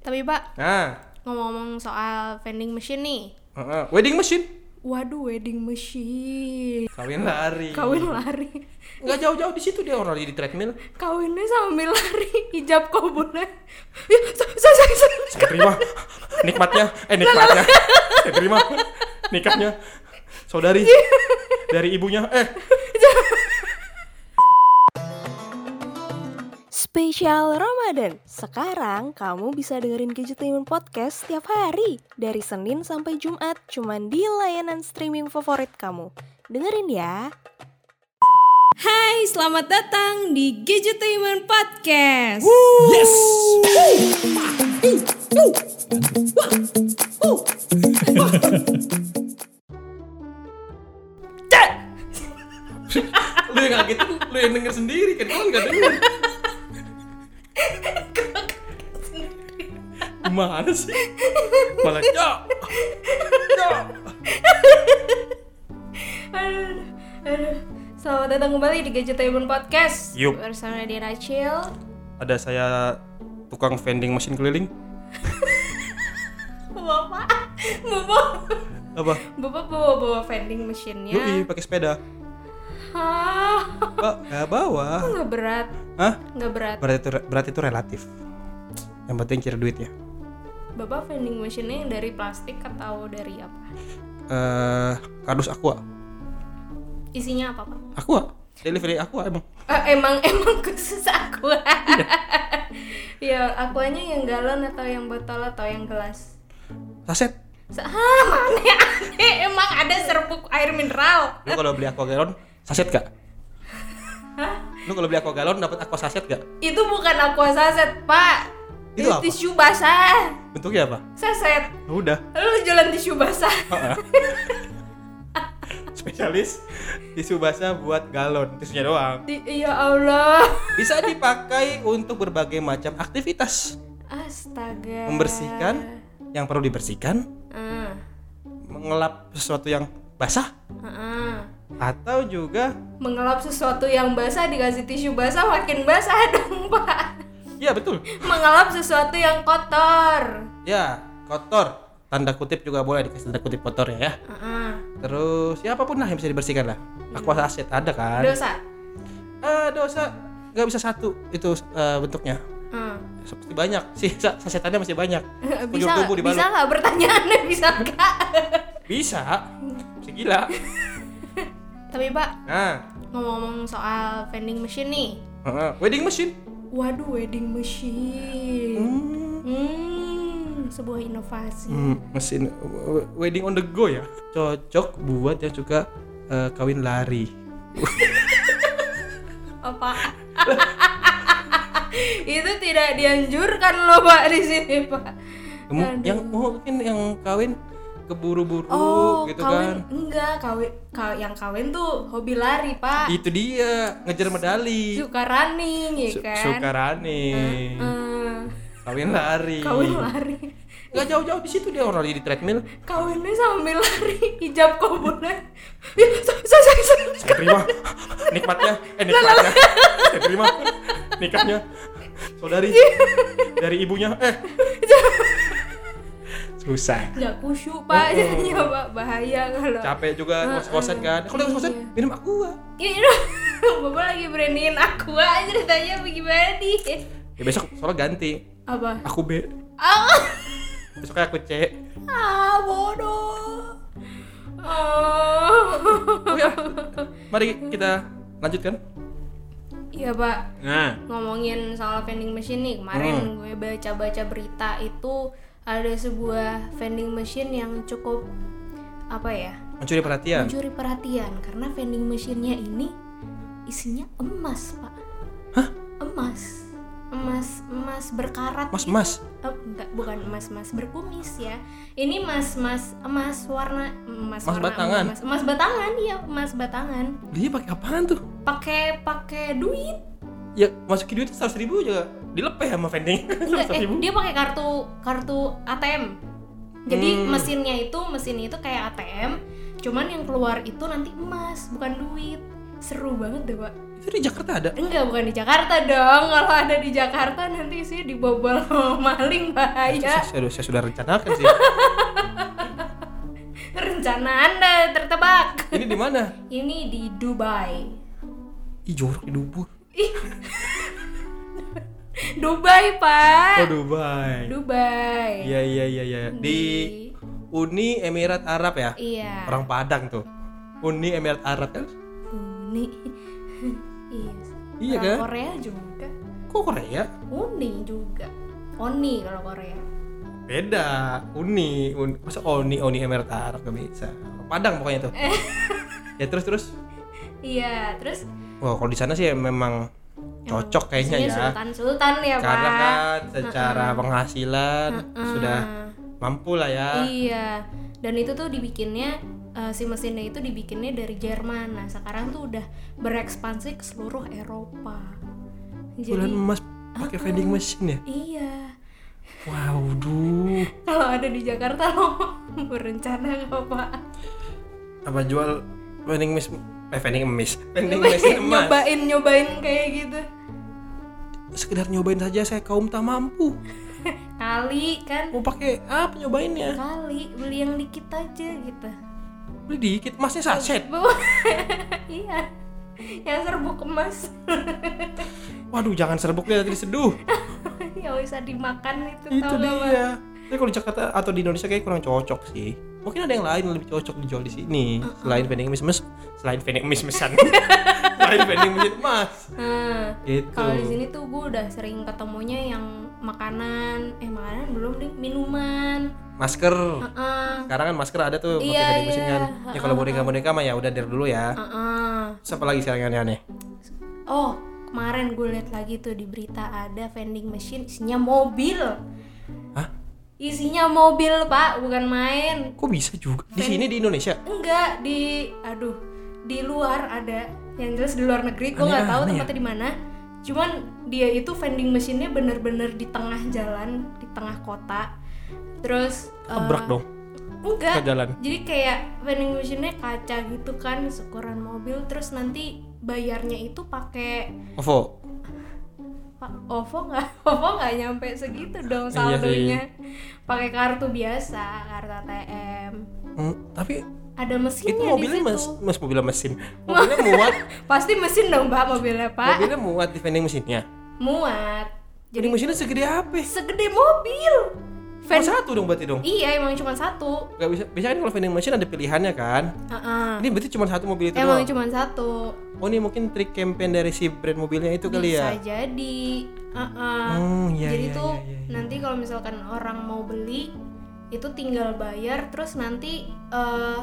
Tapi Pak, Nah, ngomong-ngomong soal vending machine nih. heeh. wedding machine, Waduh, wedding machine. kawin lari. Kawin lari. Nggak jauh-jauh di situ dia orang lagi di treadmill. Kawinnya sambil lari. Ijab kabulnya. Ya, so- so- so- so- Saya terima nikmatnya, eh nikmatnya. Saya terima nikahnya saudari dari ibunya. Eh, Spesial Ramadan. Sekarang kamu bisa dengerin Gadgetainment Podcast setiap hari dari Senin sampai Jumat cuman di layanan streaming favorit kamu. Dengerin ya. Hai, selamat datang di Gadgetainment Podcast. yes. Cek! lu yang kaget, lu yang denger sendiri kan orang nggak denger. Gimana sih? Malah cok. Cok. Aduh, aduh. Selamat datang kembali di Gadgetainment Podcast. Yup. Bersama di Rachel. Ada saya tukang vending mesin keliling. Bapak, bapak, Apa? bapak bawa bawa vending mesinnya. Yoi, pakai sepeda. Hah, Pak, nggak bawa. nggak berat, Hah? nggak berat. Berarti itu, berarti itu relatif. Yang penting ya. kira duitnya. Bapak vending mesinnya yang dari plastik atau dari apa? Eh, kardus aqua. Isinya apa pak? Aqua. Delivery aqua emang. Eh, emang emang khusus aku. ya, akuanya yang galon atau yang botol atau yang gelas? Saset. Sa- Hah, mana aneh? Emang ada serbuk air mineral? Lu kalau beli aqua galon, saset gak? Lu kalau beli aqua galon dapat aqua saset gak? Itu bukan aqua saset pak. Itu apa? Tisu basah. Bentuknya apa? Saset. Ya Udah. Lu jualan tisu basah. Spesialis tisu basah buat galon, tisunya doang. Di- ya Allah. Bisa dipakai untuk berbagai macam aktivitas. Astaga. Membersihkan yang perlu dibersihkan, Ah, mengelap sesuatu yang basah ah, ah. atau juga Mengelap sesuatu yang basah dikasih tisu basah makin basah dong pak. ya betul. Mengelap sesuatu yang kotor. Ya, kotor. Tanda kutip juga boleh dikasih tanda kutip kotor ya. Ah, ah. Terus ya apapun lah yang bisa dibersihkan lah. Aqua saset ada kan? Dosa. Ah, dosa nggak bisa satu itu eh, bentuknya. Ah. Seperti banyak sih sa- sasetannya masih banyak. Bisa Ujung nggak? tubuh dibalut. bisa nggak pertanyaannya bisa nggak? Bisa. Bisa gila. Tapi pak Nah, ngomong-ngomong soal vending machine nih. heeh. wedding machine. Waduh wedding machine. Hmm, Hmm, sebuah inovasi. Hmm, mesin w- wedding on the go ya. Cocok buat yang suka eh, kawin lari. Apa? itu tidak dianjurkan loh pak di sini pak. Kamu- yang oh, mungkin yang kawin keburu-buru Oh, gitu kan. kawin enggak kawin, ka- yang kawin tuh hobi lari pak. Itu dia ngejar medali. Suka running ya Su- kan. Suka running. Eh, Kawin lari. kawin lari. Nggak jauh-jauh di situ dia orang lagi di treadmill. kawinnya sambil lari hijab kabulnya ya so, so, so, so. Saya terima nikmatnya. Eh nikmatnya. Saya terima nikahnya. Saudari Iya. dari ibunya. Eh. Susah. nggak khusyuk Oh, pak jadinya pak bahaya kalau Capek Ah, juga ngos-ngosan kan. Kalau udah ngos-ngosan Iya. minum ah. aqua. ya you know, bapak lagi brandingin aku aja ceritanya bagaimana nih Ya besok soalnya ganti. apa Aku B. ah, Besoknya aku C. ah bodoh oh ya. Mari kita lanjutkan. iya pak Nah, ngomongin soal vending machine nih Hmm. kemarin gue baca-baca berita itu ada sebuah vending machine yang cukup apa ya mencuri perhatian. mencuri perhatian karena vending mesinnya ini isinya emas pak emas emas emas berkarat Mas, mas. Oh, enggak bukan emas emas berkumis ya ini emas emas emas warna emas Emas warna batangan. emas emas batangan iya emas batangan Dia pakai apaan tuh? pakai pakai duit ya masukin duit seratus ribu juga dilepeh sama vending enggak seratus eh ribu dia pakai kartu kartu ATM jadi Hmm. mesinnya itu mesin itu kayak ATM cuman yang keluar itu nanti emas bukan duit seru banget deh pak Itu di Jakarta ada. Enggak, bukan di Jakarta dong. Kalau ada di Jakarta nanti sih dibobol sama maling bahaya. Eh, Saya, saya sudah rencanakan sih. Rencana Anda tertebak. Ini di mana? Ini di Dubai. Ih, jorok di Dubur. Eh. Dubai, Oh, Pak. Dubai. Dubai. Iya, iya, iya, iya. Di Uni Emirat Arab ya? Iya. Orang Padang tuh. Uni Emirat Arab kan? Uni. iya. Iya Orang kan? Korea juga. Kok Korea? Uni juga. Oni kalau Korea. Beda. Uni, Uni. Masa Oni, Oni Emirat Arab gak bisa. Orang Padang pokoknya tuh. Eh. ya terus terus. Iya, terus Wah, kalau di sana sih memang cocok kayaknya isinya ya. sultan-sultan ya, Pak. Karena kan secara penghasilan sudah mampu lah ya. Iya, dan itu tuh dibikinnya eh, si mesinnya itu dibikinnya dari Jerman. Nah, sekarang tuh udah berekspansi ke seluruh Eropa. Bulan Jadi emas pakai vending machine ya. iya. Wow, duh. Kalau ada di Jakarta lo berencana nggak Pak? Apa jual vending machine? Eh, vending emis. Vending machine emas. nyobain nyobain kayak gitu. Sekedar nyobain saja saya kaum tak mampu. Kali kan, Mau pakai apa nyobainnya? kali beli yang dikit aja gitu. Beli dikit emasnya saset. Bu- iya. Yang serbuk emas Waduh, jangan serbuknya tadi seduh. yang bisa dimakan itu, Itu tau nggak, Pak? dia. Tapi kalau di Jakarta atau di Indonesia kayak kurang cocok sih. Mungkin ada yang lain yang lebih cocok dijual di sini. Selain vending emis emas, selain vending emis mesan. selain vending machine emas. Nah, Gitu. Kalau di sini tuh gue udah sering ketemunya yang makanan, eh makanan belum deh, minuman. Masker. Heeh, Sekarang kan masker ada tuh pakai Iya, vending machine iya. Ah. kan. Ya kalau boneka-boneka mah ya udah dari dulu ya. heeh. Terus apa lagi sekarang yang aneh-aneh? Oh, kemarin gue liat lagi tuh di berita ada vending machine isinya mobil. Hah? Isinya mobil, Pak, bukan main. Kok bisa juga? Di sini di Indonesia. Enggak di aduh, di luar ada. Yang jelas di luar negeri gue Aneh, nggak tahu aneh ya. tempatnya di mana. Cuman dia itu vending machine-nya bener-bener di tengah jalan, di tengah kota. Terus eh, Abrak dong. Enggak. Ke jalan. Jadi kayak vending machine-nya kaca gitu kan, seukuran mobil terus nanti bayarnya itu pakai OVO. pa- OVO nggak? OVO nggak nyampe segitu dong Iya sih. saldonya. Pakai kartu biasa, kartu ATM. Hmm, tapi Ada mesinnya itu di mobilnya situ. mas, mas mobilnya mesin. Mobilnya muat, Pasti mesin dong, Mbak, mobilnya, Pak. mobilnya muat di vending mesinnya. Muat. Jadi Jadi mesinnya segede apa? segede mobil. Cuma Ven- satu dong berarti dong. Iya, emang cuma satu. Gak bisa. Biasanya kan kalau vending machine ada pilihannya kan. Heeh. Ini berarti cuma satu mobil itu Ah. Emang Gitu doang. cuma satu. Oh ini mungkin trik campaign dari si brand mobilnya itu kali bisa ya. jadi uh-uh. Oh, iya, jadi iya, tuh iya, iya, iya. nanti kalau misalkan orang mau beli itu tinggal bayar terus nanti eh,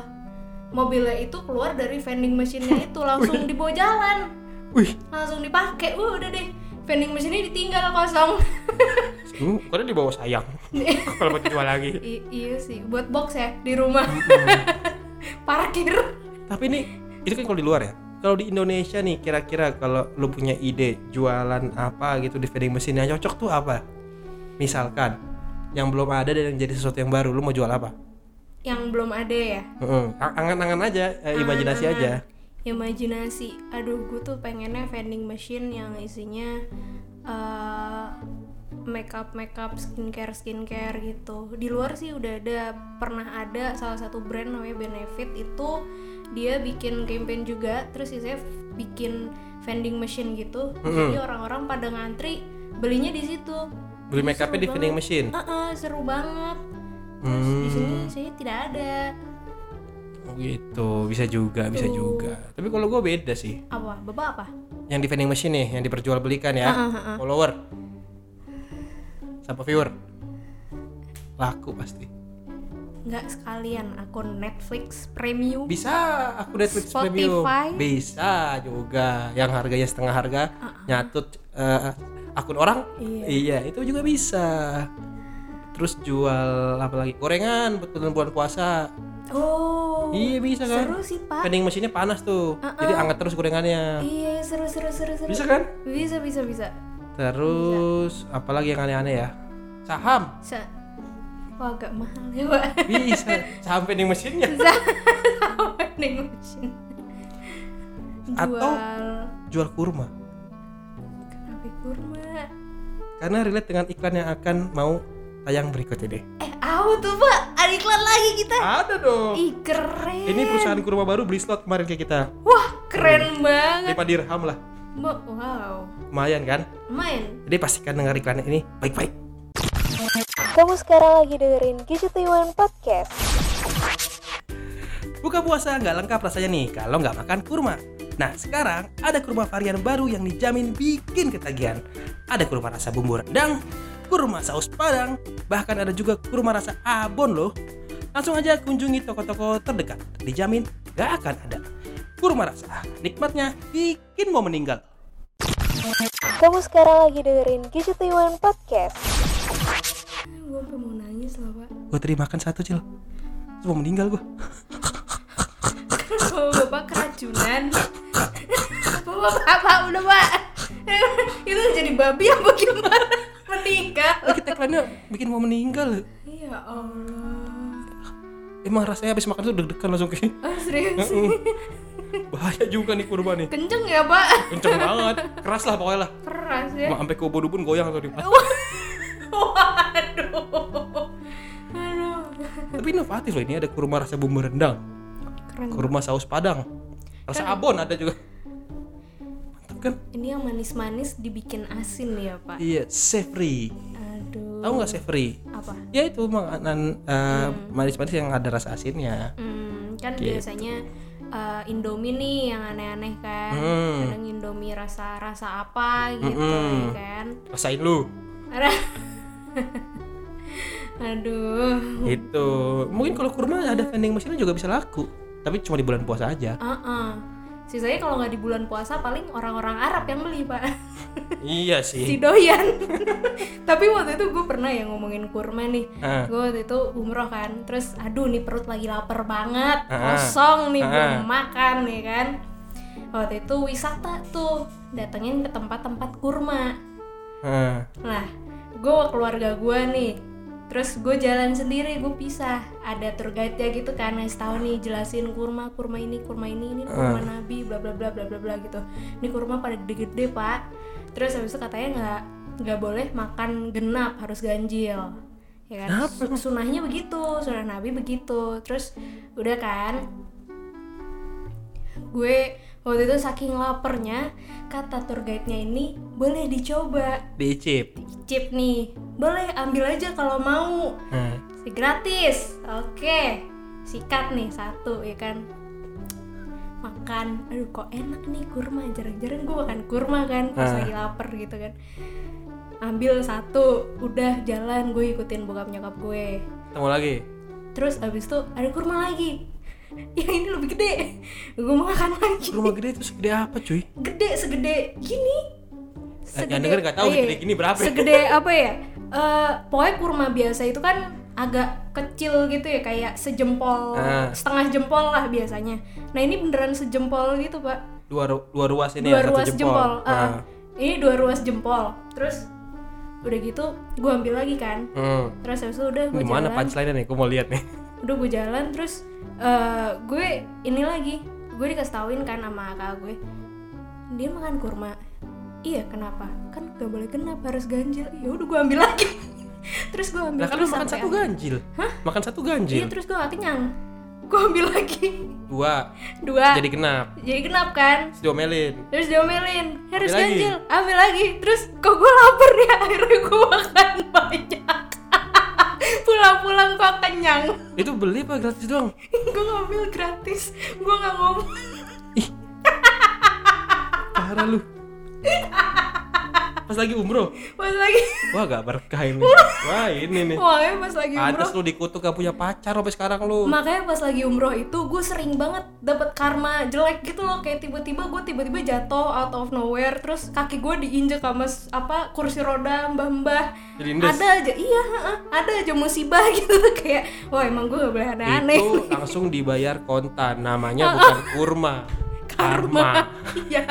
mobilnya itu keluar dari vending machine-nya itu langsung dibawa jalan Wih, langsung dipakai uh, udah deh vending machine-nya ditinggal kosong hmm, karena di bawah sayang. kalau mau jual lagi. I- iya sih buat box ya di rumah parkir Tapi ini itu kan kalau di luar ya. Kalau di Indonesia nih kira-kira kalau lu punya ide jualan apa gitu di vending machine yang cocok tuh apa? Misalkan yang belum ada dan yang jadi sesuatu yang baru, lu mau jual apa? yang belum ada ya Heeh, ang- Angan-angan aja, eh, imajinasi aja. imajinasi aduh gue tuh pengennya vending machine yang isinya eh, makeup makeup skincare skincare gitu di luar sih udah ada pernah ada salah satu brand namanya Benefit itu dia bikin campaign juga terus isinya f- bikin vending machine gitu jadi orang-orang pada ngantri belinya di situ Beli make upnya di banget. vending machine. Eh, eh, seru banget terus Hmm. di sini saya tidak ada Oh gitu, bisa juga, bisa juga. Tapi kalau gue beda sih. apa bapak apa Yang di vending machine nih, yang diperjualbelikan ya. Follower. Sama viewer. Laku pasti. nggak sekalian akun Netflix premium Bisa aku Netflix Spotify. Premium. Bisa juga. Yang harganya setengah harga Uh-uh. nyatut eh, akun orang. Iya. itu juga bisa. Terus jual apa lagi? Gorengan buat bulan puasa. oh Iya, bisa kan? seru sih pak Vending mesinnya panas tuh. Jadi anget terus gorengannya. iya seru seru seru seru Bisa kan? bisa bisa bisa Terus apalagi yang aneh-aneh ya? Saham. Sa wah agak mahal ya pak Bisa saham vending mesinnya bisa Sama vending machine Atau- jual jual kurma Kenapa kurma? karena relate dengan iklan yang akan mau tayang berikutnya deh. Eh, apa tuh pak? Ada iklan lagi kita. Ada dong. Ih keren. Ini perusahaan kurma baru beli slot kemarin kayak kita. Wah keren banget. 5 dirham lah. Mbak, wow. Lumayan kan? Main. Jadi pastikan dengar iklan ini baik-baik. Kamu sekarang lagi dengerin Gadgetaiwan Podcast. Buka puasa nggak lengkap rasanya nih kalau nggak makan kurma. Nah sekarang ada kurma varian baru yang dijamin bikin ketagihan. Ada kurma rasa bumbu rendang, kurma saus padang, bahkan ada juga kurma rasa abon loh. Langsung aja kunjungi toko-toko terdekat, dijamin nggak akan ada. Kurma rasa, nikmatnya bikin mau meninggal. Kamu sekarang lagi dengerin Gadgetaiwan Podcast. Gue sampai mau nangis loh pak. Gue tadi makan satu cil, Terus mau meninggal gue. Kalau bapak keracunan. bapak, bapak, udah pak. Itu jadi babi apa gimana? Meninggal. Kita tagline bikin mau meninggal. Ya Allah. Emang rasanya habis makan tuh deg-degan langsung kayak Oh, serius? bahaya juga nih kurma nih. Kenceng ya pak? kenceng banget keras lah pokoknya lah Keras ya. Cuma sampai ke ubun ubun goyang tuh di Waduh. Aduh. tapi inovatif loh ini ada kurma rasa bumbu rendang Keren. kurma saus padang rasa abon ada juga mantap kan Ini yang manis-manis dibikin asin ya pak. iya savory Aduh. tahu nggak savory Apa? ya itu makanan eh, manis-manis yang ada rasa asinnya Hmm, kan Gitu. biasanya eh, Indomie nih yang aneh-aneh kan. Hmm. Kadang Indomie rasa rasa apa gitu ya Mm-mm. kan. rasain lu Ra- Aduh. itu Gitu. mungkin kalau kurma ada vending mesinnya juga bisa laku tapi cuma di bulan puasa aja Uh-uh. Sisanya kalau nggak di bulan puasa paling orang-orang Arab yang beli pak. iya si sih doyan tapi waktu itu gue pernah ya ngomongin kurma nih Ah. gue waktu itu umroh kan terus aduh nih perut lagi lapar banget Ah. kosong nih gue Ah. makan ya kan waktu itu wisata tuh datengin ke tempat-tempat kurma Heeh. nah gue keluarga gue nih terus gue jalan sendiri gue pisah ada tour guide nya gitu kan ngasih tahu nih jelasin kurma kurma ini kurma ini ini kurma nabi bla bla bla bla bla bla gitu ini kurma pada gede-gede pak terus habis itu katanya nggak nggak boleh makan genap harus ganjil ya kan Kenapa? sunahnya begitu sunah nabi begitu terus udah kan gue waktu itu saking lapernya kata tour guide-nya ini boleh dicoba dicip chip nih boleh ambil aja kalau mau Heeh. si gratis oke sikat nih satu ya kan makan aduh kok enak nih kurma jarang-jarang gue makan kurma kan pas Ah. lagi lapar gitu kan ambil satu udah jalan gue ikutin bokap nyokap gue ketemu lagi terus abis itu ada kurma lagi yang ini lebih gede gue makan lagi kurma gede itu segede apa cuy gede segede gini Eh, yang denger nggak tahu iya. segede gini berapa ya. segede apa ya Eh, pokoknya kurma biasa itu kan agak kecil gitu ya kayak sejempol Ah. setengah jempol lah biasanya nah ini beneran sejempol gitu pak dua ru- dua ruas ini dua ya, satu ruas jempol, Eh, Ah. ini dua ruas jempol terus udah gitu gue ambil lagi kan Hmm. terus habis itu udah gue Gimana jalan punchline nih? Gue mau lihat nih. udah gue jalan terus eh, gue ini lagi gue dikasih tauin kan sama kakak gue dia makan kurma iya kenapa kan gak boleh genap harus ganjil ya udah gue ambil lagi terus gue ambil Lah kan lu terus makan sampai satu akhir. ganjil. Hah? Makan satu iya ganjil. terus gue gak kenyang gue ambil lagi Dua. dua jadi, Jadi genap. genap kan Terus diomelin. terus diomelin harus Ambil lagi. ganjil ambil lagi terus kok gue lapar ya akhirnya gue makan banyak pulang-pulang gue kenyang Itu beli apa gratis doang? gue ngambil gratis gue nggak ngomong Parah lu. Pas lagi umroh. pas lagi Wah, gak berkah ini. Wah, ini nih. makanya pas lagi umroh Pantes lu dikutuk gak punya pacar sampai sekarang lu. makanya pas lagi umroh itu gue sering banget dapat karma jelek gitu loh kayak tiba-tiba gue tiba-tiba jatuh out of nowhere terus kaki gue diinjek sama s- apa kursi roda mbah-mbah Jadi indes. ada aja iya heeh, ada aja musibah gitu kayak wah emang gue gak boleh aneh-aneh Itu langsung dibayar kontan. Namanya bukan kurma. Karma. ya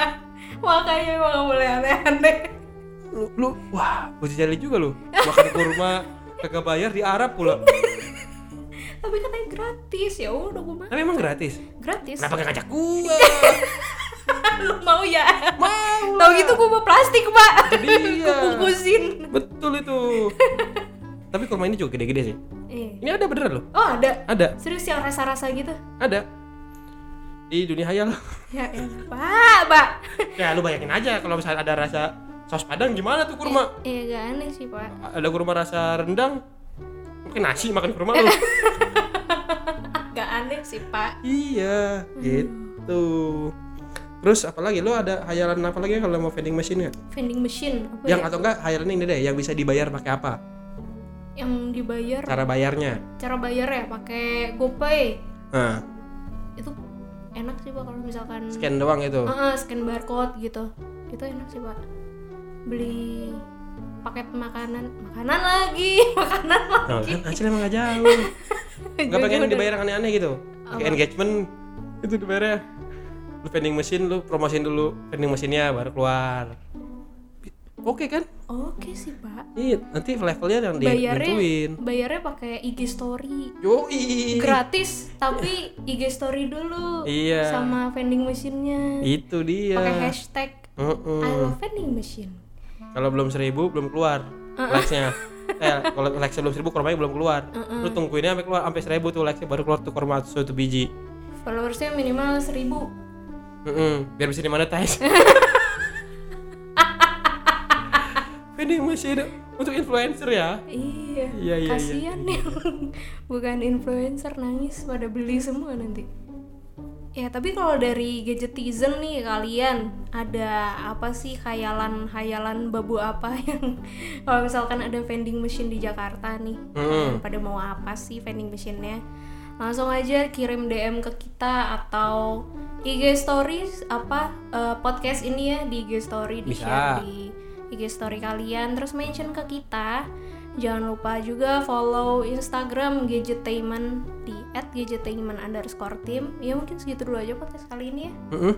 makanya emang gak boleh aneh-aneh Lu, lu wah, uji jali juga lu. Makan kurma kagak bayar di Arab pula. tapi katanya gratis ya udah gue mah Tapi emang gratis. gratis Kenapa gak ngajak gua? lu mau ya Mau tau lah. gitu gue mau plastik pak Iya. gue bungkusin Betul itu. Tapi kurma ini juga gede-gede sih. Eh. Ini ada beneran loh. oh ada Ada, serius yang rasa-rasa gitu ada. Di dunia hayal. ya elah, pak pak ya lu bayangin aja kalau misalnya ada rasa saus padang gimana tuh kurma? eh gak aneh sih pak Ada kurma rasa rendang. Mungkin nasi makan kurma lu. Ah, gak aneh sih pak iya, Hmm. gitu. Terus apalagi lu ada hayalan apa lagi kalau mau vending machine nggak? vending machine apa Yang ya? atau enggak hayalan ini deh yang bisa dibayar pakai apa? yang dibayar Cara bayarnya. cara bayar ya pakai GoPay Nah, itu enak sih pak kalau misalkan scan doang gitu. itu. Ah, ah, scan barcode gitu itu enak sih pak beli paket makanan makanan lagi makanan lagi Nah, kan hasilnya emang gak jauh. Gak pengen Jujur. dibayar yang aneh-aneh gitu. Oh. Pakai engagement itu dibayarnya. Lu vending mesin, lu promosiin dulu vending mesinnya baru keluar. Oke kan? oke sih pak Iya, nanti levelnya yang bayarnya ditentuin. bayarnya pakai IG story Yoi. gratis tapi IG story dulu Iya. sama vending mesinnya Itu dia. pakai hashtag Mm-mm. I love vending machine Kalau belum seribu belum keluar likes-nya. eh, kalau likes belum seribu kormanya belum keluar. Lu tungguinnya sampai keluar sampai seribu tuh likes baru keluar tuh korma satu biji. followersnya minimal 1000 Mm-mm, biar bisa dimonetize. Vending machine untuk influencer ya. Iya, Iya, iya, iya. kasihan yang bukan influencer nangis pada beli semua nanti. Ya, tapi kalau dari gadgetizen nih kalian ada apa sih khayalan-khayalan babu apa yang kalau misalkan ada vending machine di Jakarta nih, kalian Hmm. pada mau apa sih vending machine-nya? Langsung aja kirim DM ke kita atau IG stories apa eh, podcast ini ya di IG story di Bisa. share di IG story kalian terus mention ke kita jangan lupa juga follow Instagram Gadgetainment di @gadgetainment underscore team ya mungkin segitu dulu aja podcast kali ini ya Mm-mm.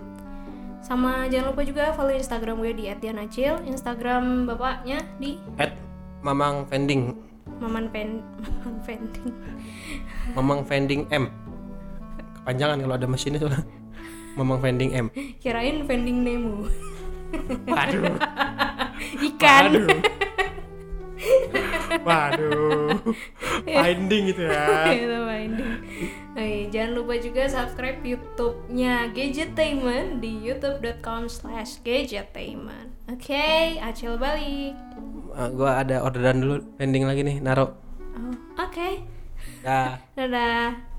sama jangan lupa juga follow Instagram gue di @dianacil Instagram bapaknya di At Mamang Vending, maman pen maman pending Mamang Vending M. Kepanjangan kalau ada mesinnya soalnya. Mamang Vending M. kirain vending nemu Waduh. ikan Waduh. Finding gitu ya. Itu binding. Oke, jangan lupa juga subscribe YouTube-nya Gadgetainment di youtube.com slash gadgetainment. Oke, acil balik. Eh, gua ada orderan dulu vending lagi nih, naro. Oh, Oke, Dah. dadah.